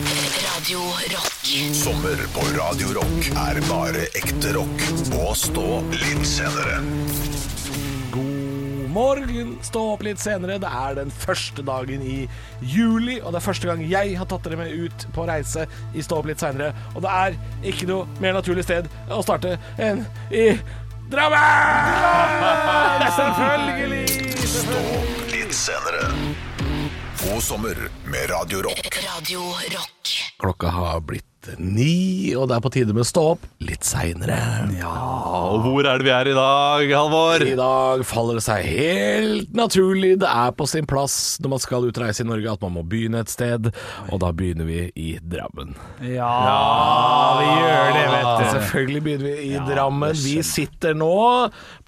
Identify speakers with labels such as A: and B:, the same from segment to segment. A: Radio Rock.
B: Sommer på Radio Rock er bare ekte rock. Og stå litt senere.
C: God morgen! Stå opp litt senere. Det er den første dagen i juli, og det er første gang jeg har tatt dere med ut på reise i Stå opp litt senere. Og det er ikke noe mer naturlig sted å starte enn i Drammen! Selvfølgelig!
B: Stå opp litt senere. God sommer med Radio Rock.
A: Radio Rock.
C: Klokka har blitt ni, og det er på tide med Stå opp litt seinere.
D: Og hvor er det vi er i dag, Halvor?
C: I dag faller det seg helt naturlig. Det er på sin plass når man skal utreise i Norge at man må begynne et sted, og da begynner vi i Drammen.
E: Ja, vi gjør det,
D: Ah.
E: vet du.
C: Selvfølgelig begynner vi i Drammen. Vi sitter nå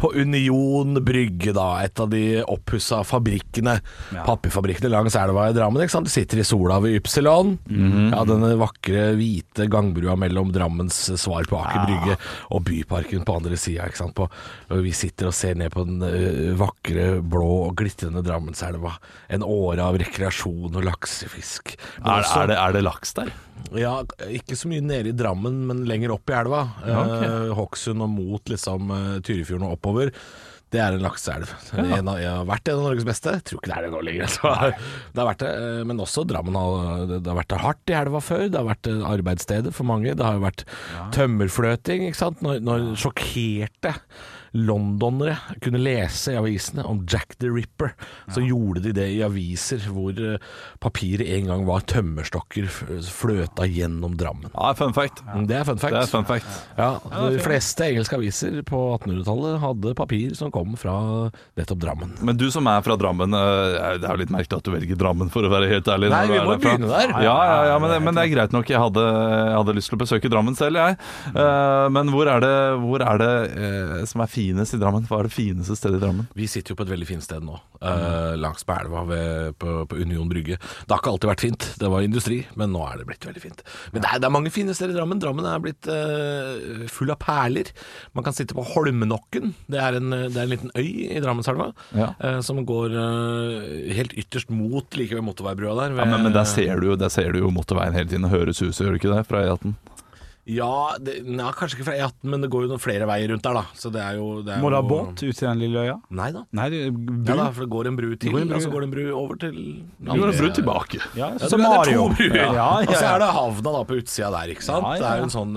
C: på Union Brygge, da. Et av de oppussa fabrikkene. Papirfabrikkene langs elva i Drammen. Ikke sant? De sitter i sola ved Ypsilon.
D: Mhm.
C: Ja, Denne vakre, hvite gangbrua mellom Drammens svar på
D: Ah.
C: Aker Brygge og Byparken på andre sida. ikke sant? På, og vi sitter og ser ned på den ø, vakre, blå og glitrende Drammenselva. En åre av rekreasjon og laksefisk. Men
D: Er,
C: også-
D: er, det, er det laks der?
C: ja, ikke så mye nede i Drammen, men lenger opp i elva.
D: ok.
C: Eh, Hokksund og mot liksom eh, Tyrifjorden og oppover. Det er en lakseelv. En av- Jeg har vært en av Norges beste. Jeg tror ikke det er det nå lenger. altså. Det har vært det, eh, men også Drammen har, det har vært det hardt i elva før. Det har vært eh, arbeidsstedet for mange. Det har jo vært tømmerfløting, ikke sant. Når, når sjokkerte londonere kunne lese i avisene om Jack the Ripper, så gjorde de det i aviser hvor eh, papiret en gang var tømmerstokker f- fløta gjennom Drammen.
D: Ja, fun fact.
C: Det er fun fact.
D: Det er fun fact.
C: Ja, de fleste engelske aviser på 1800-tallet hadde papir som kom fra nettopp Drammen.
D: Men du som er fra Drammen, eh, det er jo litt merkelig at du velger Drammen, for å være helt ærlig.
C: Nei,
D: når du
C: vi
D: er
C: må
D: derfra.
C: begynne der.
D: Ja, ja, ja men, men det er greit nok. Jeg hadde, jeg hadde lyst til å besøke Drammen selv, jeg. Eh, Men hvor er det, hvor er det eh, som er finest i Drammen? Hva er det fineste stedet i Drammen?
C: Vi sitter jo på et veldig fint sted nå,
D: Mm.
C: eh, langs med elva ved, på, på Union Brygge. Det har ikke alltid vært fint, det var industri, men nå er det blitt veldig fint. Men det er, det er mange fine steder i Drammen. Drammen er blitt eh, full av perler. Man kan sitte på Holmenokken, det er en, det er en liten øy i Drammenselva,
D: Ja.
C: eh, som går eh, helt ytterst mot like ved motorveibrua der.
D: Ja,
C: ved-
D: men, men der ser du jo der ser du jo motorveien hele tiden. Høres huset, gjør du ikke det? Fra E18.
C: Ja, det, nei, kanskje ikke fra E18, men det går jo noen flere veier rundt der, da. Så det er jo det er
E: Må du ha
C: jo-
E: båt ut til den lille øya?
C: Nei da.
E: Nei, det er
C: Ja, da,
E: bru.
C: for det går en bru til,
E: går en bru,
C: og så
E: ja.
C: går det en bru over til
D: Nå går det brutt tilbake.
E: Ja,
C: Ja,
E: som
C: det er
E: Mario.
C: to bruer.
E: Ja, ja,
C: Og så er
E: ja.
C: det havna da på utsida der, ikke sant.
E: Ja, ja, ja.
C: Det er jo en sånn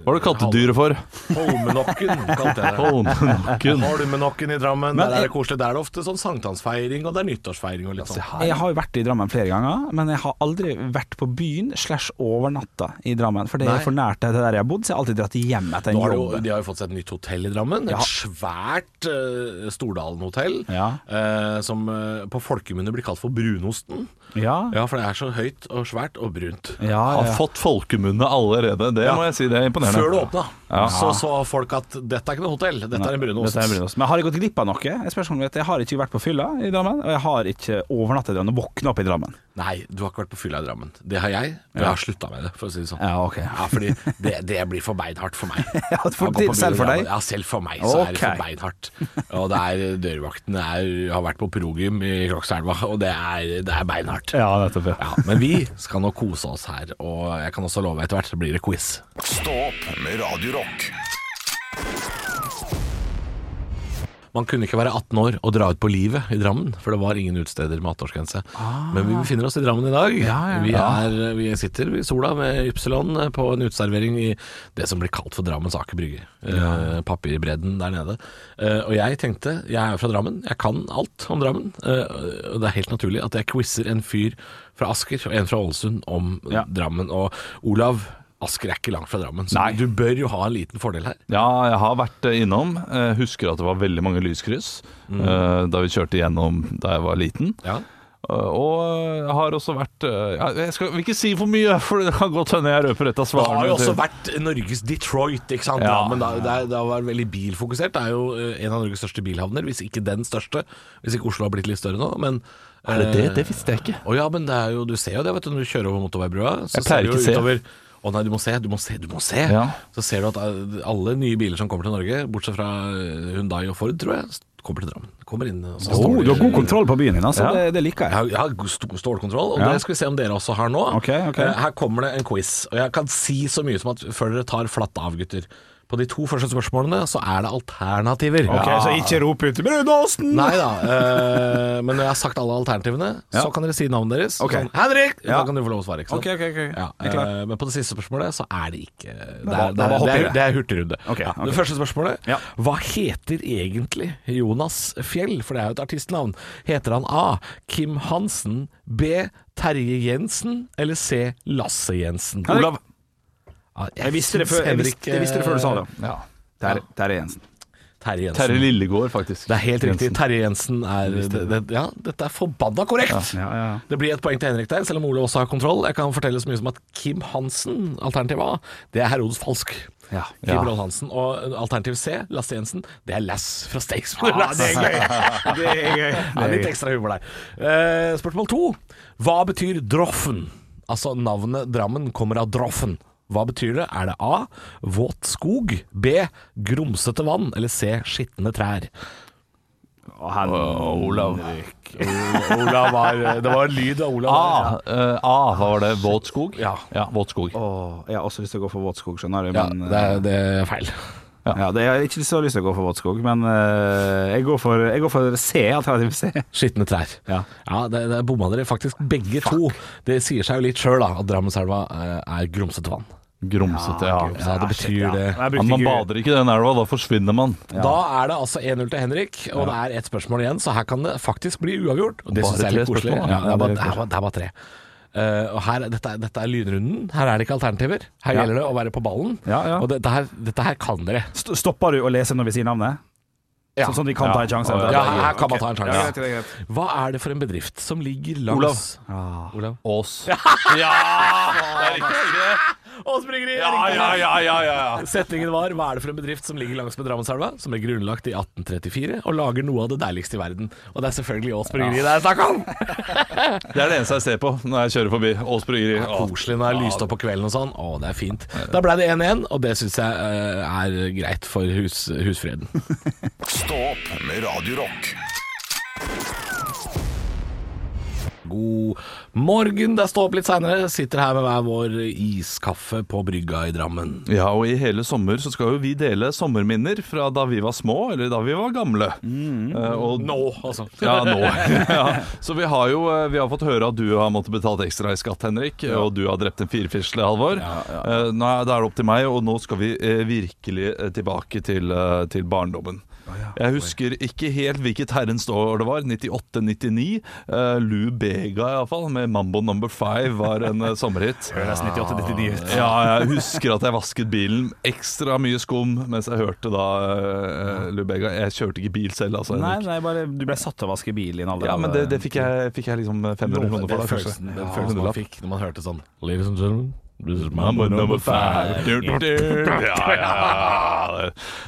D: Hva er det kattedyret for?
C: Holmenokken, kalte jeg det.
D: Holmennakken.
C: Holmenokken i Drammen.
E: Men
C: der er
E: jeg-
C: det koselig. Der er det ofte sånn sankthansfeiring, og det er nyttårsfeiring og litt sånn.
E: Jeg har jo vært i Drammen flere ganger, men jeg har aldri vært på byen slash overnatta i Drammen. For det
C: Nei.
E: er for nært til der jeg har bodd, så jeg har alltid dratt hjem etter
C: Nå
E: en
C: har det jo,
E: jobb.
C: de har jo fått seg et nytt hotell i Drammen.
E: Ja.
C: Et svært eh, Stordalen-hotell.
E: Ja.
C: eh, som eh, på folkemunne blir kalt for Brunosten.
E: Ja,
C: Ja, for det er så høyt og svært og brunt.
E: ja, ja.
D: Har fått folkemunne allerede. Det
C: Ja.
D: må jeg si, det er imponerende.
C: Før det åpna,
D: Ja.
C: så så folk at dette er ikke noe hotell, dette er en brunost.
E: Dette er en brunost. Men har jeg gått glipp av noe? Jeg, spør, som du vet, jeg har ikke vært på fylla i Drammen, og jeg har ikke overnatta i Drammen og våkna opp i Drammen.
C: Nei, du har ikke vært på fylla i Drammen. Det har jeg, og jeg har slutta med det, for å si det sånn.
E: Ja, ok.
C: Ja, fordi det, det blir for beinhardt for meg.
E: for-
C: Jeg går på
E: selv for
C: byen,
E: deg?
C: Ja, selv for meg så er det
E: Ok.
C: for beinhardt. Og det er, dørvakten er, har vært på progym i Krokselva, og det er, det er beinhardt.
E: Ja, nettopp.
C: Ja, men vi skal nå kose oss her, og jeg kan også love etter hvert så blir det quiz.
B: Stå opp med Radio Rock.
C: Man kunne ikke være 18 år og dra ut på livet i Drammen, for det var ingen utsteder med 18-årsgrense. Men vi befinner oss i Drammen i dag.
E: Ah. ja,
C: vi, er, vi sitter i sola med Ypsilon på en uteservering i det som blir kalt for Drammens Aker Brygge. Eh, papirbredden der nede. Eh, og jeg tenkte, jeg er jo fra Drammen, jeg kan alt om Drammen. eh, og det er helt naturlig at jeg quizer en fyr fra Asker og en fra Ålesund om
E: Ja.
C: Drammen. Og Olav, Asker er ikke langt fra Drammen, så
D: Nei.
C: du bør jo ha en liten fordel her.
D: Ja, jeg har vært eh, innom. Eh, Husker at det var veldig mange lyskryss eh, da vi kjørte gjennom da jeg var liten.
C: Ja.
D: Eh, Og jeg har også vært eh, ja, Jeg skal vil ikke si for mye, for det kan godt hende jeg røper et
C: Det
D: av
C: har
D: svarene.
C: jo også
D: til-
C: vært Norges Detroit, ikke sant?
D: Ja.
C: Ja, men da, det, er, det har vært veldig bilfokusert. Det er jo eh, en av Norges største bilhavner, hvis ikke den største. Hvis ikke Oslo har blitt litt større nå, men eh,
D: Er det det? Det visste jeg ikke.
C: Å ja, men det er jo, du ser jo det, vet du, når du kjører over motorveibrua. Så
D: Jeg
C: ser du
D: pleier ikke
C: jo
D: å se.
C: utover å nei, du må se, du må se, du må se.
D: Ja.
C: Så ser du at eh, alle nye biler som kommer til Norge, bortsett fra eh, Hyundai og Ford, tror jeg, kommer til Drammen. Kommer inn og så
E: Oh,
C: står de-
E: du har god kontroll på byen din, altså.
D: Ja.
E: Det, det liker
C: Jeg
E: jeg.
C: har, jeg har god sto- stålkontroll, og
E: Ja.
C: det skal vi se om dere også har nå.
E: Ok, ok.
C: Eh, Her kommer det en quiz, og jeg kan si så mye som at før dere tar flatt av, gutter. På de to første spørsmålene så er det alternativer.
E: Ok, Så ikke rop ut 'Brunåsen'!
C: Nei da, eh, men når jeg har sagt alle alternativene, så kan dere si navnet deres.
E: Ok.
C: Sånn, Henrik!
E: Ja.
C: Da kan dere få lov å svare. ikke sant?
E: Ok, ok, ok.
C: Ja,
E: Jeg er klar.
C: eh, men på det siste spørsmålet så er det ikke Det er,
E: da-
C: det
E: da
C: er,
E: hopper
C: det er,
E: vi.
C: det er hurtigrunde.
E: Ok,
C: Ja,
E: ok.
C: Det første spørsmålet
E: Ja.
C: Hva heter egentlig Jonas Fjell? For det er jo et artistnavn. Heter han A. Kim Hansen, B. Terje Jensen eller C. Lasse Jensen?
E: Olav.
C: Ja, jeg
E: Jeg visste det
C: synes
E: før, jeg
C: Henrik, eh,
E: visste, jeg visste det før du sa det.
D: Ja.
E: Der, der er Jensen.
C: Terje Jensen.
D: Terje Lillegård, faktisk.
C: det er helt riktig.
D: Jensen.
C: Terje Jensen er det, det, Ja, dette er forbanna korrekt!
E: Ja, ja.
C: Det blir et poeng til Henrik der, selv om Ole også har kontroll. Jeg kan fortelle så mye som at Kim Hansen, alternativ A, det er Herodes Falsk.
E: Ja.
C: Kim
D: Ja.
C: Roll Hansen. Og eh, alternativ C, Lasse Jensen, det er Lass fra Staysman.
E: Ah, det er gøy! Det er gøy.
C: Ja, litt ekstra humor der. Eh, spørsmål to. Hva betyr Droffen? Altså navnet Drammen kommer av Droffen. Hva betyr det? Er det A. Våt skog. B. Grumsete vann. Eller C. Skitne trær.
E: Og han
D: Olav.
C: Olav var Det var lyd av Olav.
D: A, eh, A, hva var det? Våt skog?
C: Ja.
D: våt skog.
E: Åh, jeg har også lyst til å gå for Våtskog, skjønner du.
C: Ja,
E: Men, eh,
C: det, er- det er feil.
E: ja, det, jeg har ikke så lyst til å gå for Våtskog, men eh, jeg, går for, jeg går for C, alternativ C.
C: Skitne trær.
E: Ja.
C: det, det bomma dere faktisk begge to. Det sier seg jo litt sjøl, da, at Drammenselva eh, er grumsete vann.
D: Grumsete, ja.
C: Så det betyr
E: Ah, shit, ja.
C: det.
E: Jeg
D: ja.
E: brukte
D: Man
E: ikke-
D: bader ikke i den elva, da forsvinner man.
C: Da er det altså 1-0 til Henrik, og det er ett spørsmål igjen, så her kan det faktisk bli uavgjort. Og det
D: Bare
C: syns jeg er litt
D: tre
C: koselig.
D: spørsmål,
C: Ja,
D: ja.
C: det, er bare, det, er bare, det er bare tre. Eh, og her, dette, er- dette er lynrunden. Her er det ikke alternativer. Her
E: Ja.
C: gjelder det å være på ballen.
E: Ja, ja.
C: Og dette her, dette her kan dere.
E: St- Stopper du å lese når vi sier navnet?
C: Ja.
E: Sånn, sånn at vi kan
D: Ja.
E: ta en sjanse?
C: Ja, her, her kan man ta en
E: Ja, greit,
C: sjanse.
E: greit, greit.
C: Hva er det for en bedrift som ligger langs
E: Ah.
C: Olav.
D: Ås. Ja! Det er riktig.
C: Ås Bryggeri!
D: Ja, ja, ja, ja, ja.
C: Setningen var Hva er det for en bedrift som ligger langs med Drammenselva, som ble grunnlagt i 1834 og lager noe av det deiligste i verden? Og det er selvfølgelig Ås Bryggeri det er snakk om!
D: Det er det eneste jeg ser på når jeg kjører forbi Ås bryggeri. Åh.
C: Koselig når det er lyst opp på kvelden og sånn. Å, det er fint. Da ble det 1-1, og det syns jeg eh, er greit for hus, husfreden.
B: Stå opp med Radio Rock.
C: God morgen, det er stå opp litt seinere. Sitter her med hver vår iskaffe på brygga i Drammen.
D: Ja, og i hele sommer så skal jo vi dele sommerminner fra da vi var små, eller da vi var gamle. Eh, og
C: Nå, altså.
D: Ja, nå. ja. Så vi har jo eh, vi har fått høre at du har måttet betalt ekstra i skatt, Henrik. Og du har drept en firfisle, Halvor. Eh, Nå er- Da er det opp til meg, og nå skal vi eh, virkelig eh, tilbake til, eh, til barndommen. Jeg husker ikke helt hvilket herrens år det var. 98-99. Eh, Lou Bega iallfall, med 'Mambo Number Five', var en eh, sommerhit.
E: Høres
D: Ah.
E: 98-99 ut.
D: Ja, jeg husker at jeg vasket bilen ekstra mye skum mens jeg hørte da eh, Lubega. Jeg kjørte ikke bil selv, altså.
E: Nei,
D: Henrik.
E: nei, bare, du ble satt til å vaske bil i en alder
D: Ja,
E: av-
D: men det, det fikk, jeg, fikk jeg liksom 500
C: Den
D: kroner for. da, kanskje.
C: følelsen, den følelsen man
D: Hundrelapp.
C: fikk når man hørte sånn Ladies and gentlemen, this is
D: Mambo
C: mambo
D: number
C: number
D: five. Du, du, du. Ja, ja, ja.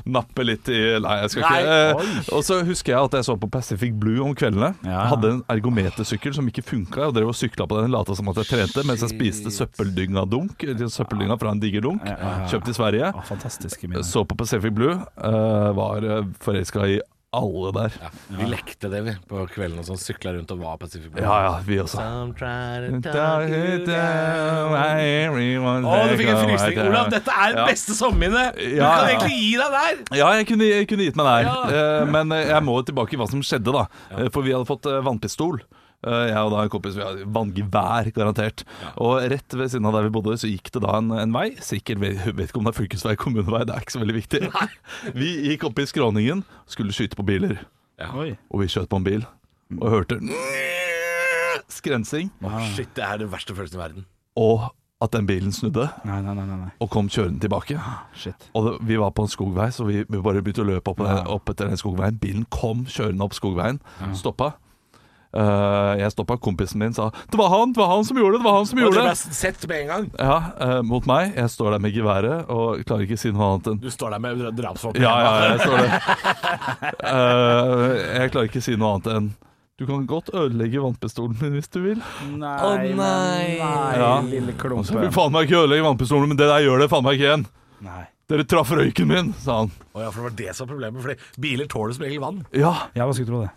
D: Nappe litt i Nei, jeg skal ikke
C: Nei,
D: Eh, Og så husker jeg at jeg så på Pacific Blue om kveldene.
E: Ja.
D: Hadde en ergometersykkel som ikke funka. Jeg drev og sykla på den, lata som at jeg trente, mens jeg spiste søppeldynga dunk eller Søppeldynga fra en diger dunk, kjøpt i Sverige.
E: Å, ah, Fantastiske minner.
D: Så på Pacific Blue, eh, var forelska i alle der.
C: Vi lekte det, vi, på kvelden og sånn. Sykla rundt og var Pacific Blue.
D: Ja ja, vi også.
C: Some try to talk you down.
D: Å,
C: Å, du fikk en frysning. Olav, dette er det
D: Ja.
C: beste sommerminnet! Du
D: Ja,
C: kan
D: ja.
C: egentlig gi deg der!
D: Ja, jeg kunne, jeg kunne gitt meg der. Eh, men eh, jeg må tilbake i hva som skjedde, da. Eh, For vi hadde fått eh, vannpistol. Eh, jeg og da en kompis vi hadde vanngevær, garantert. Og rett ved siden av der vi bodde, så gikk det da en, en vei. Sikkert vet, vet ikke om det er fylkesvei, kommunevei, det er ikke så veldig viktig. Vi gikk opp i skråningen, skulle skyte på biler.
E: Oi.
D: Og vi skjøt på en bil, og hørte skrensing.
C: Shit, det er den verste følelsen i verden.
D: Og at den bilen snudde,
E: Nei, nei, nei, nei, nei.
D: og kom kjørende tilbake.
E: Shit.
D: Og det, vi var på en skogvei, så vi, vi bare begynte å løpe opp, opp etter den skogveien. Bilen kom kjørende opp skogveien, stoppa. Eh, jeg stoppa, kompisen min sa 'Det var han! Det var han som gjorde det!' det var han som
C: Og du
D: gjorde
C: ble
D: det
C: sett med en gang.
D: Ja, eh, Mot meg. Jeg står der med geværet og klarer ikke å si noe annet enn
C: Du står der med drapsvåpen.
D: Ja, ja, jeg står der. Eh, jeg klarer ikke å si noe annet enn Du kan godt ødelegge vannpistolen min hvis du vil.
E: Nei,
C: Å, nei.
E: men- nei
D: Ja.
E: lille
D: Og så vil
E: klumpen.
D: faen meg ikke ødelegge vannpistolen, men det der gjør det faen meg ikke igjen.
E: Nei.
D: Dere traff røyken min, sa han.
C: Å ja, for det var det som var problemet. Fordi biler tåler som regel vann.
D: Ja,
E: Ja, hva skulle tro det?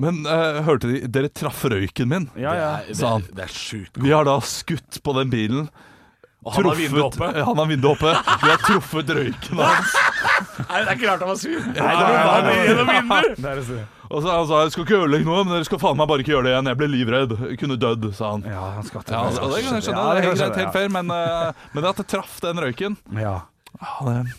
D: men eh, hørte de Dere traff røyken min,
E: Ja, ja.
C: Det er-
D: sa han.
C: Det, det er sjukt.
D: Vi har da skutt på den bilen.
C: Og han har vinduet oppe.
D: Ja, Han har vinduet oppe. Vi har truffet røyken hans.
C: Nei, det er ikke rart han var sur.
D: nei, nei, nei.
E: Det er det som-
D: Og så han sa jeg skal ikke ødelegge noe, men dere skal faen meg bare ikke gjøre det igjen. Jeg ble livredd. Jeg kunne dødd, sa han.
E: Ja, han skvatt.
D: Ja, altså, og det kan jeg skjønne.
E: Ja,
D: det
E: kan
D: er helt
E: jeg
D: greit, helt fair, men, eh, men at det traff den røyken
E: skjønne, Ja.
D: Ja, det- det-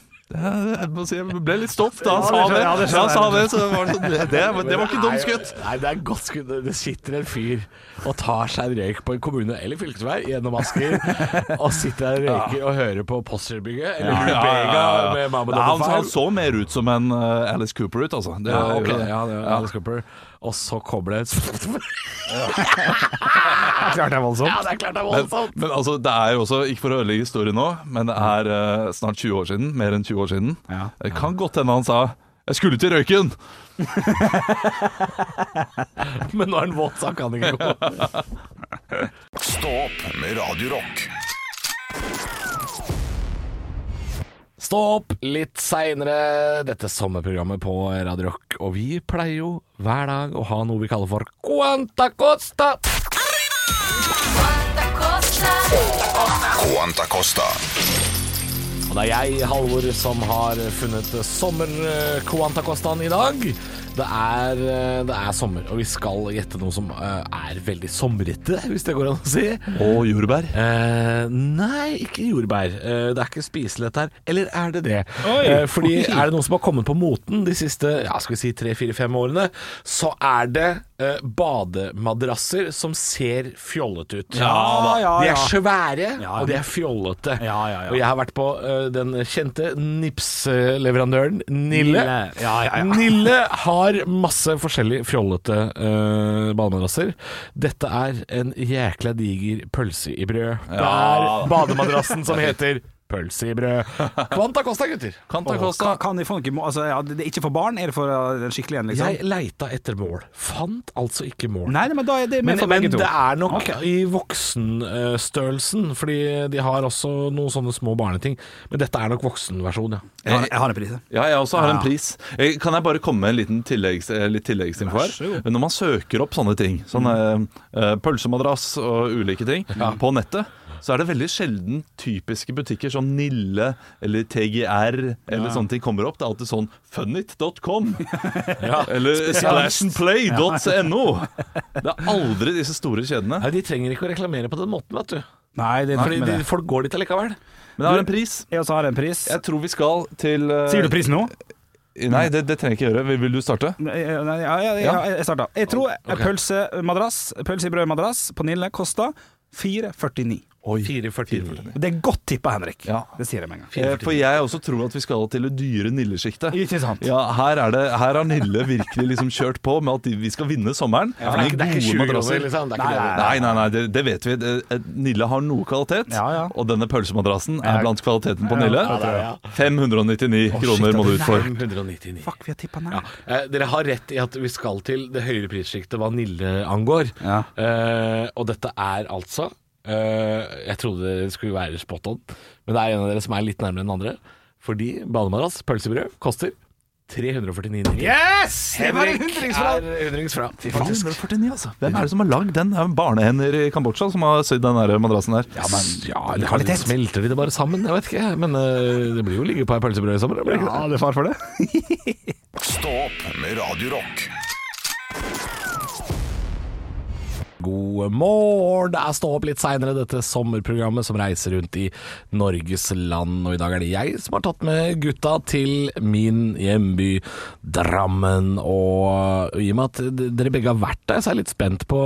D: Jeg må si, jeg ble litt stolt da han
E: Ja, det
D: sa
E: skjønner
D: det.
E: jeg, ja, det
D: Da han sa
E: skjønner
D: det, så var det, sånn, det, det, var- det var ikke dumt skutt.
C: Nei, det er godt skudd. Det sitter en fyr og tar seg en røyk på en kommune eller fylkesvei gjennom Asker, og sitter der og røyker og hører på Postgirobygget eller
D: Ja, ja,
C: Lubega
D: ja, ja.
C: med Mahmoud
D: Nei, han, han
C: Abdel-Fahr.
D: så mer ut som en eh, Alice Cooper ut, altså. Det,
C: Ja,
D: gjorde
C: ok,
D: det.
C: ja, det var Alice Cooper. Og så kommer det
E: Klart det er voldsomt.
C: Ja, det er klart det er
D: Men,
C: voldsomt!
D: men altså, det er jo også, ikke for å ødelegge historien nå, men det er eh, snart 20 år siden, mer enn 20 år siden.
E: Ja.
D: Det kan godt hende han sa 'jeg skulle til røyken'.
C: Men nå er han våt, så han kan ikke gå.
B: Stå opp med Radio Rock.
C: Stå opp litt seinere, dette sommerprogrammet på Radio Rock. Og vi pleier jo hver dag å ha noe vi kaller for Quanta Costa.
B: Quanta Costa.
C: Og det er jeg, Halvor, som har funnet sommer-Quantacostaen i dag. Det er, eh, det er sommer, og vi skal gjette noe som eh, er veldig somrete, hvis det går an å si.
D: Og jordbær.
C: Eh, nei, ikke jordbær. Eh, det er ikke spiselett her. Eller er det det?
E: Oi.
C: Eh, fordi er det noen som har kommet på moten de siste ja, skal vi si tre-fire-fem årene, så er det eh, bademadrasser som ser fjollete ut.
E: Ja, ja,
C: De
E: ja.
C: er svære,
E: Ja.
C: og de er fjollete.
E: Ja, ja, ja.
C: Og jeg har vært på eh, den kjente Nips-leverandøren Nille.
E: Nille. Ja, ja, ja.
C: Nille har masse forskjellige fjollete uh, bademadrasser. Dette er en jækla diger pølse i brød. Det er bademadrassen som heter Pølse i brød. Quanta Costa, gutter.
D: Kanta
E: Åh,
D: Costa.
E: kan, kan de faen ikke må- altså, ja, det er ikke for barn, er det for uh, den skikkelige en, liksom?
C: Jeg leita etter mål. Fant altså ikke mål.
E: Nei, nei, men da er det med
C: Men,
E: for
C: men
E: begge to.
C: det er nok
E: Ok.
C: i voksenstørrelsen, fordi de har også noen sånne små barneting. Men dette er nok voksenversjon, ja.
E: Jeg har, jeg har en pris.
D: Ja, jeg også har
E: Ja.
D: en pris. Eh, Kan jeg bare komme med en liten tilleggs, eh, litt tilleggsinfo
E: Vær så
D: her?
E: god. Mm.
D: Når man søker opp sånne ting, sånne eh, pølsemadrass og ulike ting, på nettet, så er det veldig sjelden typiske butikker som Nille eller TGR eller sånne ting kommer opp. Det er alltid sånn funnit.com eller splashandplay.no. Det er aldri disse store kjedene.
C: Nei, De trenger ikke å reklamere på den måten, vet du.
E: Nei, det er
C: Fordi
E: nok med
C: de,
E: det.
C: folk går dit allikevel.
D: Men jeg har en pris.
E: Jeg også har en pris.
D: Jeg tror vi skal til eh,
E: Sier du pris nå?
D: Nei, det, det trenger jeg ikke gjøre. Vil- Vil du starte?
E: Nei, nei, ja, ja, ja, jeg starta. Jeg tror en pølsemadrass, pølse i brødmadrass på Nille kosta 4,49.
C: 4,49.
E: Det er godt tippa, Henrik.
D: Ja.
E: Det sier jeg med en gang.
D: Eh, For jeg også tror at vi skal til det dyre Nille-sjiktet.
E: Ikke sant?
D: Ja, her, er det, her har Nille virkelig liksom kjørt på med at de, vi skal vinne sommeren.
C: Ja, for det er ikke- det er ikke 20 kroner, liksom. Det er ikke
E: Nei,
C: det.
E: nei,
D: Nei, nei, nei, det, det vet vi. Det- eh, Nille har noe kvalitet,
E: Ja, ja.
D: og denne pølsemadrassen er blant kvaliteten på
C: det er det, ja.
D: Nille. 599 kroner må du ut for.
C: 199.
E: Fuck, vi har tippa nei.
C: Ja. Eh, dere har rett i at vi skal til det høyere prissjiktet hva Nille angår.
E: Ja.
C: Eh, og dette er altså eh, Jeg trodde det skulle være spot on, men det er en av dere som er litt nærmere enn den andre. Fordi bademadrass, pølsebrød, koster 349
E: Yes! Det var en
C: Henrik
E: hundrings fra
C: er hundrings fra. Faktisk.
D: 149, altså. Hvem er det som har lagd den? Det er barnehender i Kambodsja som har sydd den der madrassen der.
E: Ja, men ja,
C: Ja, det
E: det er kvalitet.
C: Smelter de det bare sammen? Jeg vet ikke. Men eh, det blir jo ligge på ei pølsebrød i sommer. det blir ikke det?
E: Ja, det er far for det.
B: Stå opp med Radio Rock.
C: God morgen! Det er Stå opp litt seinere, dette sommerprogrammet som reiser rundt i Norges land. Og i dag er det jeg som har tatt med gutta til min hjemby Drammen. Og i og med at d- dere begge har vært der, så er jeg litt spent på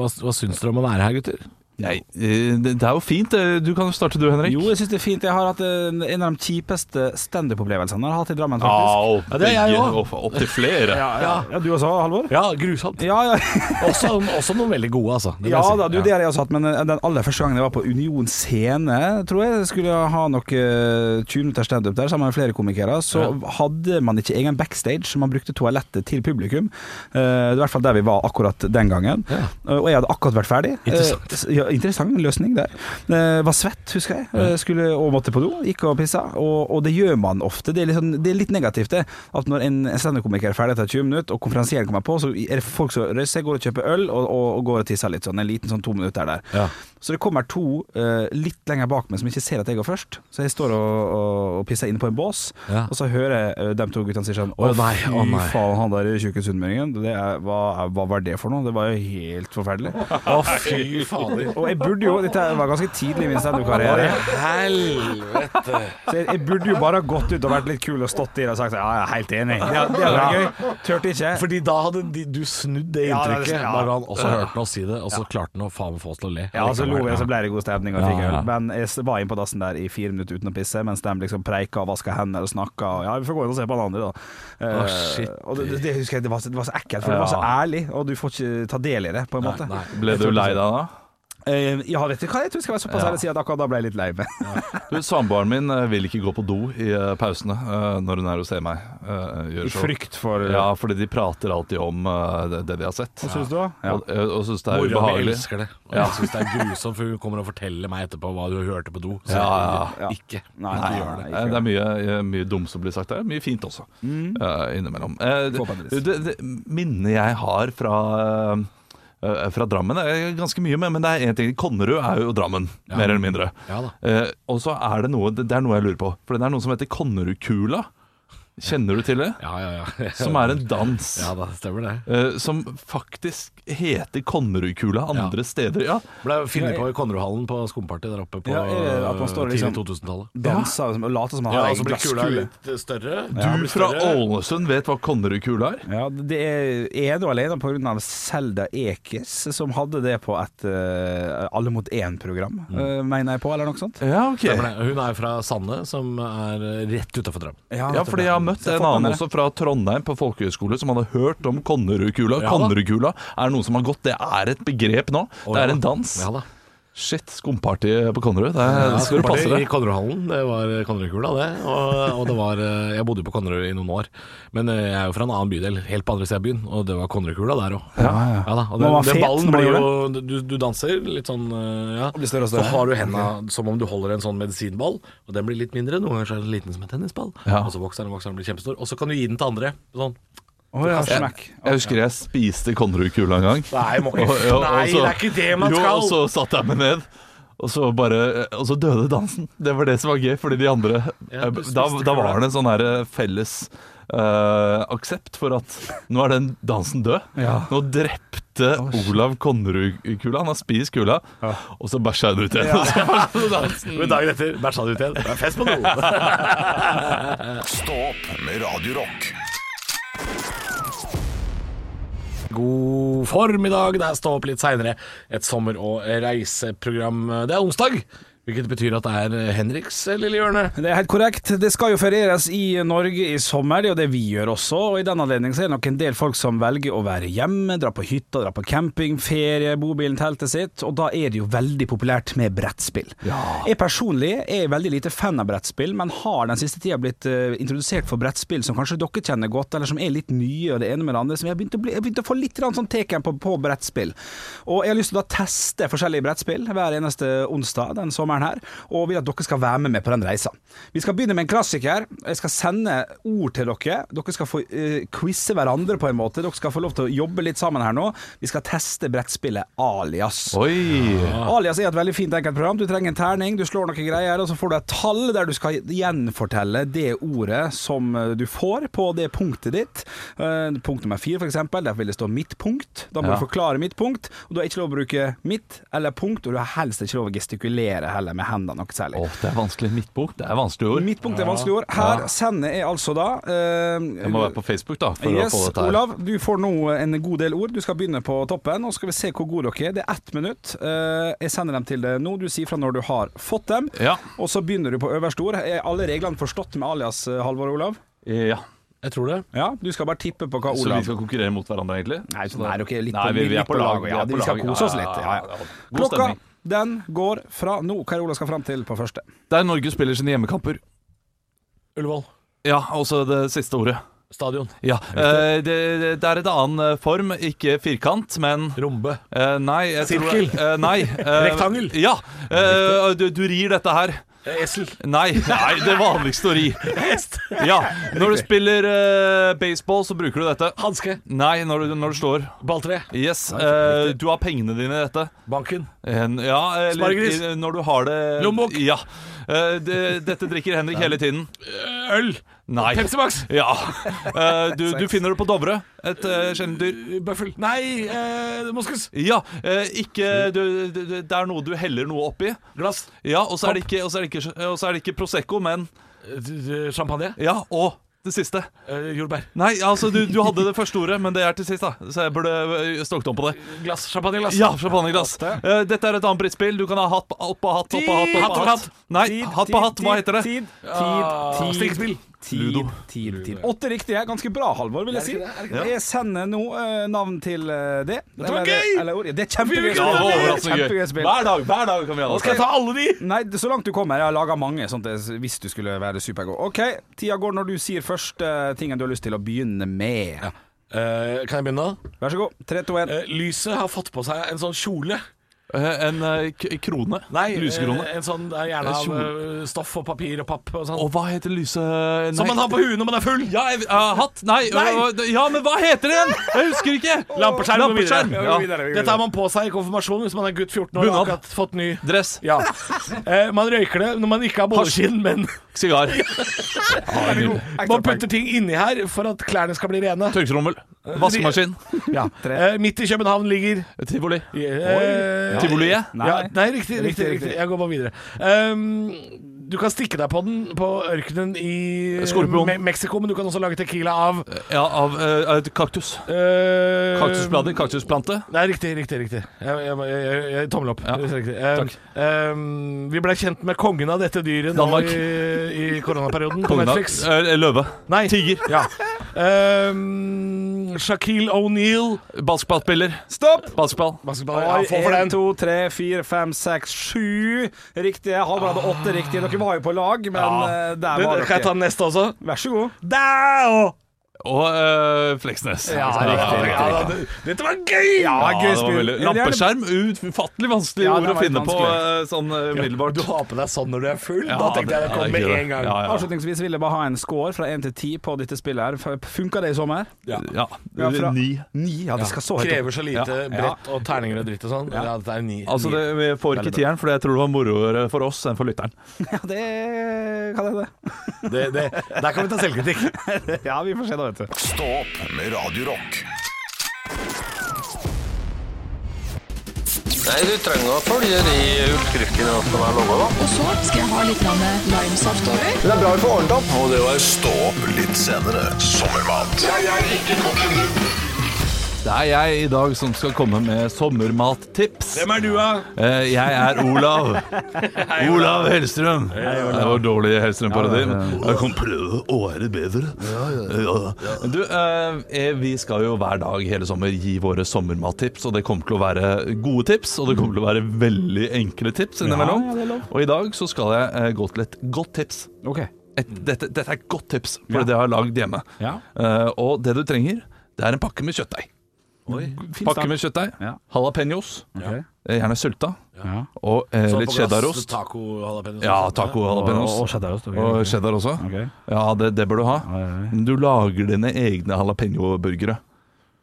C: hva, hva syns dere om å være her, gutter?
D: Nei, eh, det, det er jo fint. eh, Du kan jo starte du, Henrik.
E: Jo, jeg syns det er fint. Jeg har hatt en en av de kjipeste standup-opplevelsene jeg har hatt i Drammen, faktisk.
D: Au,
C: Ja, det er jeg
D: begge-
C: også.
D: å, Opp til flere.
E: Ja, ja. ja, du også, Halvor?
C: Ja, grusomt.
E: Ja, ja.
C: Også, også noen veldig gode, altså. Det må
E: Ja
C: jeg si.
E: da, du, det har jeg også hatt, men eh, den aller første gangen jeg var på Union Scene, tror jeg, skulle jeg ha noe eh, 20 minutter standup der sammen med flere komikere, så hadde man ikke egen backstage, så man brukte toalettet til publikum. Eh, Det var i hvert fall der vi var akkurat den gangen.
C: Ja.
E: Eh, Og jeg hadde akkurat vært ferdig. Eh,
C: Interessant.
E: s- Ja, lø interessant løsning der. Eh, var svett, husker jeg. Eh, skulle og måtte på do. Gikk og pissa. Og, og det gjør man ofte. Det er litt, sånn, det er litt negativt, det. At når en en standup-komiker er ferdig etter 20 minutter, og konferansieren kommer på, så er det folk som røyser seg, går og kjøper øl, og, og, og går og tisser litt sånn. En liten sånn to minutter der.
C: Ja.
E: Så det kommer to eh, litt lenger bak meg som ikke ser at jeg går først. Så jeg står og, og, og pisser inne på en bås,
C: Ja.
E: og så hører jeg eh, de to guttene si sånn Å
C: Å, nei,
E: fy
C: å, nei.
E: faen, han der tjukke sunnmøringen. det er- Hva, hva var det for noe? Det var jo helt forferdelig.
C: Å, fy fader.
E: Og jeg burde jo Dette var ganske tidlig i min standup-karriere.
C: Helvete.
E: Så jeg, jeg burde jo bare ha gått ut og vært litt kul og stått i det og sagt sånn, ja, jeg er helt enig. Ja, det hadde vært gøy. Turte ikke.
C: Fordi da hadde de, du snudd det
E: Ja, det er
C: inntrykket.
E: det- ja.
C: Bare han også hørte noe si det, og så klarte han å faen meg få oss til å le. Liksom,
E: Ja, så lo jeg, så ble det god stemning. Og
C: Ja,
E: fikk
C: ja.
E: øl. Men jeg s- var inne på dassen der i fire minutter uten å pisse, mens de liksom preika og vaska hender og snakka. Og ja, vi får gå inn og se på han andre, da. Eh,
C: shit.
E: og det, det husker jeg, det var, så- det var så ekkelt, for det var så ærlig, og du får ikke ta del i det, på en måte.
C: nei.
D: Ble du lei deg da?
E: Eh, ja, vet du hva, jeg tror jeg skal være såpass ærlig og si at akkurat da ble jeg litt lei meg.
D: Du, Samboeren min eh, vil ikke gå på do i eh, pausene eh, når hun er og ser meg. eh, gjøre
E: I
D: show.
E: frykt for
D: Ja, fordi de prater alltid om eh, det, det de har sett.
E: Hva syns du, da? Ja.
D: Og, eh, og syns det er
C: Mora mi
D: ubehagelig.
C: elsker det. Og jeg syns det er grusomt, for hun kommer og forteller meg etterpå hva du hørte på do. Så
D: Ja,
E: ja.
C: ikke.
E: Nei,
C: ikke
E: nei,
C: gjør
E: nei,
C: det.
E: ikke
D: Eh, Det er mye, eh, mye dumt som blir sagt der. Mye fint også, eh, innimellom. Eh,
E: Forhåpentligvis.
D: det, det minnet jeg har fra, eh, eh, fra Drammen er ganske mye, med, men det er en ting. Konnerud er jo Drammen, mer eller mindre.
C: Ja da.
D: Eh, og så er det noe Det det er noe jeg lurer på. For det er noe som heter Konnerudkula. Kjenner du til det?
C: Ja, ja, ja.
D: Som er en dans.
C: Ja da, stemmer det.
D: eh, som faktisk heter Konnerudkula andre steder. Ja,
C: Ble funnet på i Konnerudhallen på Skumparty der oppe på
E: Ja, er det at man står
C: eh,
E: liksom-
C: tidlig 2000-tallet.
E: Dansa liksom, og late som han
C: Ja,
E: har
C: og så
E: en
C: blir kula
E: glasskule.
C: litt større.
D: Du fra Ålesund vet hva Konnerudkula er?
E: Ja, det er ene og alene på grunn av Selda Ekes, som hadde det på et eh, Alle mot én-program,
D: Mm.
E: eh, mener jeg på, eller noe sånt.
D: Ja, ok
C: Stemmer det. Hun er fra Sande, som er eh, rett utafor Drammen.
D: Ja, fordi jeg har møtt
E: Så fått
D: en
E: med
D: annen
E: dere.
D: også fra Trondheim på folkehøyskole som hadde hørt om Konnerudkula.
C: Ja da.
D: Konnerudkula er noe som har gått, det er et begrep nå.
C: Å,
D: Det
C: ja
D: er
C: da.
D: en dans.
C: Ja da.
D: Shit, skumparty på Konnerud. Det
C: Ja,
D: er- det skal du passe
C: I
D: deg.
C: Konnerudhallen. Det var Konnerudkula, det. Og, og det var eh, Jeg bodde jo på Konnerud i noen år. Men eh, jeg er jo fra en annen bydel, helt på andre siden av byen, og det var Konnerudkula der òg. Ja, da. Og
E: Man
C: den,
E: var fet
C: den ballen
E: når man
C: blir jo
E: gjorde
C: du, du danser litt sånn eh, ja.
E: Og blir større og
C: Så
E: større.
C: har du henda som om du holder en sånn medisinball, og den blir litt mindre. Noen ganger så er den liten som en tennisball,
D: Ja.
C: og så vokser den og vokser den og blir kjempestor. Og så kan du gi den til andre. Sånn.
E: Å ja,
D: Jeg,
E: smekk.
D: jeg husker jeg spiste Konnerudkula en gang.
C: Nei, må
D: Og-
C: ikke.
D: og- og
C: Nei, det
D: så-
C: er ikke det man skal!
D: Jo, og så satte jeg meg ned. Og så, bare, og så døde dansen. Det var det som var gøy, fordi de andre eh,
C: Ja, du
D: da,
C: spiste
D: da
C: kula.
D: var det en sånn her eh, felles eh, aksept for at nå er den dansen død. Nå drepte Olav Konnerud-kula. Han har spist kula, og så bæsja han ut igjen. Og så var det dansen.
C: Men dagen etter bæsja du ut igjen. Det er fest på noe.
B: Stå opp med Radio Rock.
C: God formiddag, det er Stå opp litt seinere. Et sommer- og reiseprogram. Det er onsdag, hvilket betyr at det er Henriks lille hjørne.
E: Det er helt korrekt. Det skal jo ferieres i Norge i sommer, det er jo det vi gjør også. Og I den anledning så er det nok en del folk som velger å være hjemme, dra på hytta, dra på camping, ferie, bobilen, teltet sitt. Og da er det jo veldig populært med brettspill. Jeg personlig er veldig lite fan av brettspill, men har den siste tida blitt eh, introdusert for brettspill som kanskje dere kjenner godt, eller som er litt nye og det ene med det andre. Som jeg har begynt å, bli, jeg har begynt å få litt grann sånn teken på, på brettspill. Og jeg har lyst til å da teste forskjellige brettspill hver eneste onsdag den sommeren her, og vil at dere skal være med meg på den reisa. Vi skal begynne med en klassiker. Jeg skal sende ord til dere. Dere skal få eh, quize hverandre på en måte. Dere skal få lov til å jobbe litt sammen her nå. Vi skal teste brettspillet Alias.
D: Oi!
E: Alias er et veldig fint enkelt program. Du trenger en terning, du slår noen greier, og så får du et tall der du skal gjenfortelle det ordet som eh, du får på det punktet ditt. Eh, punkt nummer fire, for eksempel, der vil det stå mitt punkt. Da må
D: Ja.
E: du forklare mitt punkt, og du har ikke lov å bruke mitt eller punkt, og du har helst ikke lov å gestikulere heller med hendene noe særlig.
D: Åh, det er vanskelig. Midtbok, det er vanskelige ord.
E: Mitt punkt er vanskelig ord. Her sender jeg altså da
D: Jeg må være på Facebook da, for
E: Yes,
D: å få dette her.
E: Olav, du får nå en god del ord. Du skal begynne på toppen, og så skal vi se hvor gode dere er. Det er ett minutt. Eh, Jeg sender dem til deg nå. Du sier fra når du har fått dem.
D: Ja.
E: Og så begynner du på øverste ord. Er alle reglene forstått med alias eh, Halvor og Olav?
D: ja.
C: Jeg tror det.
E: Ja, du skal bare tippe på hva
D: Så vi
E: Olav
D: skal konkurrere mot hverandre, egentlig?
E: Nei, så er det ok, litt,
D: Nei, vi, vi er
E: litt
D: på lag.
E: laget, Ja,
D: er på
E: vi skal
D: lag.
E: kose oss
D: Ja,
E: litt. Ja, ja.
D: God
E: Klokka,
D: stemning.
E: den går fra nå. Hva er Olav skal fram til på første?
D: Der Norge spiller sine hjemmekamper.
C: Ullevål.
D: Ja, også det siste ordet.
C: Stadion.
D: Ja, eh, det, det- det er et annen eh, form, ikke firkant, men
C: Rombe.
D: eh, Nei. Jeg
C: Sirkel.
D: Tror, eh, nei. eh,
C: Rektangel.
D: Ja. eh, du, du rir dette her.
C: Eh, Esel.
D: Nei, nei, det vanligste å ri.
C: Hest.
D: Ja, Når du spiller eh, baseball, så bruker du dette.
C: Hanske.
D: Nei, når du, når du slår.
C: Balltre.
D: Yes,
C: riktig.
D: eh, du har pengene dine i dette.
C: Banken.
D: En, ja, eller
C: Spargris.
D: i- Når du har det
C: Lommebok.
D: Ja. Eh, det, dette drikker Henrik hele tiden.
C: Eh, Øl.
D: Nei.
C: Pepsimax.
D: Ja. Eh, du, du finner det på Dovre. Et uh, sjeldent dyr.
C: Bøffel. Nei, eh, moskus.
D: Ja, eh, ikke du, du, du- Det er noe du heller noe oppi.
C: Glass.
D: Ja, og så er det ikke, og så er det ikke, og så er det ikke Prosecco, men
C: Eh, d- d- Champagne.
D: Ja, og det siste.
C: Eh, jordbær.
D: Nei, altså, du, du hadde det første ordet, men det er til sist, da. Så jeg burde eh, stokket om på det.
C: Glass. Champagneglass.
D: Ja, champagneglass.
E: Åtte.
D: Eh, dette er et annet brittspill. Du kan ha hatt på opp på hatt, opp på hatt, opp på
C: Hatt,
D: hatt.
C: hatt.
D: Nei,
E: Tid,
D: hatt på
E: tid,
D: hatt, hva
E: tid,
D: heter det?
E: Tid,
C: Ah,
E: tid, tid,
C: stikkespill.
E: Tid,
D: Ludo.
E: tid, tid. Åtte riktige er ganske bra, Halvor, vil jeg si. Jeg sender nå eh, navn til eh, det.
C: Dette var gøy!
E: Eller, ord. det er
C: Vi
E: kjempegøy.
D: Ja, det var overraskende gøy.
E: Kjempegøy spill.
D: Hver dag hver dag kan vi ha
C: Nå skal jeg
D: det.
C: ta alle de!
E: Nei, det- så langt du kommer. Jeg har laga mange sånt eh, hvis du skulle være supergod. OK, tida går når du sier først eh, tingen du har lyst til å begynne med.
C: Eh, kan jeg begynne? da?
E: Vær så god. Tre, to, én.
C: Eh, lyset har fått på seg en sånn kjole.
D: Eh, En eh, k- krone.
C: Nei,
D: Lysekrone.
C: eh, en sånn det er gjerne av
D: Kjole.
C: eh, stoff og papir og papp og sånn.
D: Og hva heter lyse...
C: Som man har på huet når man er full.
D: Ja, jeg, eh, hatt? Nei.
C: Nei.
D: øh, Ja, men hva heter det igjen? Jeg husker ikke.
C: Lampeskjerm. og
D: Lampeskjerm.
C: videre.
D: Ja.
C: Dette har man på seg i konfirmasjon hvis man er gutt 14 år og
D: Bunad.
C: akkurat fått ny.
D: Dress.
C: Ja. Eh, man røyker det når man ikke har bolleskinn, men
D: Sigar.
C: man putter ting inni her for at klærne skal bli rene.
D: Tørketrommel. Vaskemaskin.
C: Ja. Eh, midt i København ligger
D: Tivoli.
C: eh,
D: Tivoliet.
E: Nei.
C: Ja, nei, riktig, riktig, riktig. Jeg går bare videre. Ehm, du kan stikke deg på den på ørkenen i
D: Skorpion.
C: Me Mexico, men du kan også lage tequila av
D: Ja, av eh, et kaktus.
C: eh,
D: Kaktusblader. Kaktusplante.
C: Nei, riktig, riktig. riktig Jeg, jeg, jeg, jeg tommel opp.
D: Ja,
C: Det er riktig. Ehm, ehm, vi blei kjent med kongen av dette dyret nå
D: Danmark.
C: i, i koronaperioden på
D: Kongen av
C: Netflix.
D: eh, Løve.
C: Nei.
D: Tiger.
C: Ja. Ehm, Shaquille O'Neill
D: Basketballspiller. Stopp! Basketball.
C: Basketball.
E: Oi,
C: Ja, få for
E: en,
C: den.
E: to, tre, fire, fem, seks, sju riktige. Halvor hadde åtte riktige. Dere var jo på lag, men eh, der
C: Du,
E: var
C: kan jeg ta
E: dere.
C: den neste også?
E: Vær så god.
C: Dæo!
D: Og eh, Fleksnes.
C: Ja, riktig. riktig, det- Dette var gøy!
E: Ja,
D: Ja,
E: gøy
D: det var
E: spill.
D: veldig- Lampeskjerm. Ufattelig vanskelig
E: Ja, det
D: ord å
E: var
D: finne på
E: vanskelig.
D: eh, sånn eh, umiddelbart.
C: Du har på deg sånn når du er full?
D: Ja,
C: da tenkte jeg
D: det-
C: det
D: ja,
C: kom
D: det
C: med
D: er
C: en
D: ikke
C: gang.
D: det. Ja,
E: Avslutningsvis vil jeg bare ha en score fra 1 til 10 på dette spillet. her F- Funka det i sommer?
D: ja.
E: Ja, fra-
D: Ni.
E: 9? Ja, vi skal så høyt opp.
C: Krever så lite brett og terninger og dritt og sånn. Ja, dette er ni.
D: Altså, det, vi får ikke tieren, for jeg tror det var moroere for oss enn for lytteren.
E: Ja, det kan hende.
C: ni. Det, det, der kan vi ta selvkritikk.
E: Ja, vi får se, da, vet du.
B: Stå opp med Radio Rock.
F: Nei, du trenger å følge de oppskriftene som er laga, da.
A: Og så skal jeg ha litt grann limesaft over.
F: Det er bra vi får ordnet opp. Og det var
B: Stå opp litt senere. Sommermat
D: Det er jeg i dag som skal komme med sommermattips.
C: Hvem er du, da?
D: Eh, Jeg er Olav. Olav Hellstrøm. Det var dårlig Hellstrøm-parodi. men Jeg kan prøve å være bedre. Ja. Du, eh, vi skal jo hver dag hele sommer gi våre sommermattips, og det kommer til å være gode tips, og det kommer til å være veldig enkle tips innimellom.
E: ja, det er lov.
D: Og i dag så skal jeg eh, gå til et godt tips.
E: OK.
D: Et, dette, dette er et godt tips, for det har jeg lagd hjemme.
E: Mm. Ja.
D: Eh, og det du trenger, det er en pakke med kjøttdeig. Pakke med kjøttdeig,
E: Ja.
D: jalapeños,
E: Ok.
D: eh, gjerne sylta,
E: Ja.
D: og eh, litt cheddarost.
C: Taco sånn jalapeños.
D: Ja, taco jalapeños.
E: Og cheddarost. ok.
D: Og cheddar også.
E: Ok.
D: Ja, det, det bør du ha.
E: Ja, ja, ja.
D: Men Du lager dine egne jalapeño-burgere.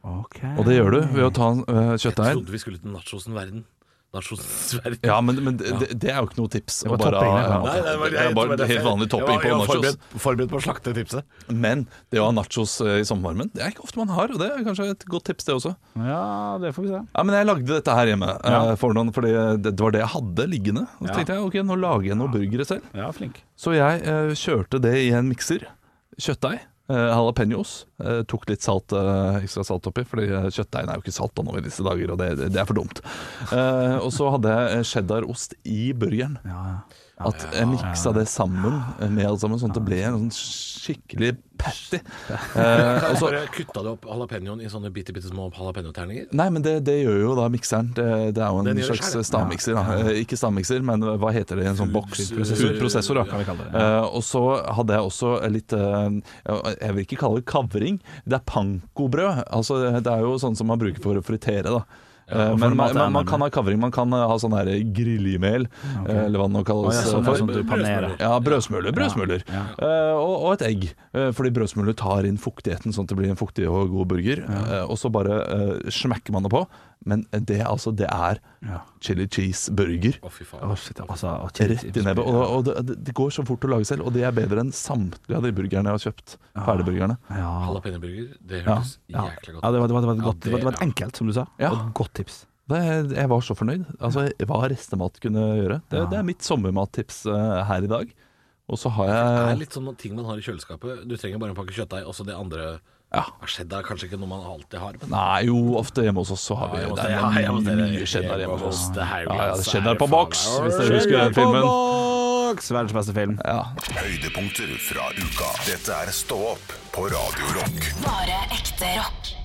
E: Ok.
D: Og det gjør du ved å ta uh, kjøttdeigen.
C: Trodde vi skulle til nachosens verden. Nachosens verden.
D: Ja, men, men det, det- det er jo ikke noe tips. å
E: var topping, det.
D: ha-
E: Nei,
D: ja, det er bare en helt vanlig topping på nachos.
C: Forberedt, forberedt på å slakte tipset.
D: Men det å ha nachos eh, i sommervarmen, det er ikke ofte man har. Og det er kanskje et godt tips, det også.
E: Ja, det får vi se.
D: Ja, men jeg lagde dette her hjemme
E: Ja.
D: eh, for noen, fordi det, det var det jeg hadde liggende. Og så tenkte jeg ok, nå lager jeg noen burgere selv.
E: Ja, flink.
D: Så jeg eh, kjørte det i en mikser. Kjøttdeig, eh, jalapeños, Eh, tok litt salt, eh, ekstra salt oppi, fordi eh, kjøttdeigen er jo ikke salta nå i disse dager, og det, det- det er for dumt. Eh, og så hadde jeg eh, cheddarost i burgeren. At jeg miksa det sammen eh, med alt sammen, sånn at det ble en sånn skikkelig patty. Eh, og
C: Og
D: så
C: så kutta du opp jalapeñoen i sånne bitte, bitte små jalapeñoterninger.
D: Nei, men det, det gjør jo da mikseren. Det, det er jo
C: Den
D: en
C: gjør det
D: slags
C: selv, ja.
D: stavmikser. Da. Eh, Ikke stavmikser, men hva heter det i en sånn boks?
C: Foodprosessor.
D: Foodprosessor, ja. Eh, og så hadde jeg også litt eh, Jeg vil ikke kalle det kavring. Det er pankobrød. Altså, det er jo sånn som man bruker for å fritere, da. Eh,
E: og
D: men
E: formatet er
D: man, man, man
E: nærmere.
D: kan ha kavring. Man kan eh, ha sånn her grillimel, eh, eller hva det nå
E: Å,
D: kalles.
E: ja, sånn, ja,
D: eh, for.
E: sånn du panerer.
D: Ja, brødsmuler. brødsmuler.
E: Ja.
D: Eh, og, og et egg. Eh, fordi brødsmuler tar inn fuktigheten, sånn at det blir en fuktig og god burger. Eh, og så bare eh, smekker man det på. Men det, er altså, det er
E: Ja.
D: chili cheese burger.
C: Å, fy faen.
E: Å, shit, altså, å, shit.
D: Rett i nebbet. Og, og det, det- det går så fort å lage selv, og det er bedre enn samtlige av de burgerne jeg har kjøpt. Ferdigburgerne.
E: Ah, Ja.
C: Jalapeñoburger, det høres
E: Ja.
C: jækla godt
E: Ja,
C: ut.
E: det var, det, var, det, var et
C: Ja,
E: godt, det, var, det var et
C: ja.
E: enkelt, som du sa.
D: Ja.
E: Og Et godt tips.
D: Det, jeg var så fornøyd. Altså, hva restemat kunne gjøre. Det, det er mitt sommermattips eh, her i dag. Og så har
C: Det er
D: jeg
C: litt sånn ting man har i kjøleskapet. Du trenger bare en pakke kjøttdeig, og så det andre
D: Ja.
C: har skjedd. Det er kanskje ikke noe man alltid har. Men
D: Nei, jo, ofte hjemme hos oss så har vi jo det er mye, mye cheddar hjemme hos oss.
C: Det er jo altså.
D: Ja, ja,
C: grenser
D: cheddar
C: her,
D: på
C: faen.
D: boks, hvis dere husker den filmen.
E: Box! Verdens beste film.
D: Ja.
B: Høydepunkter fra uka. Dette er Stå opp på Radio Rock.
G: Bare ekte rock.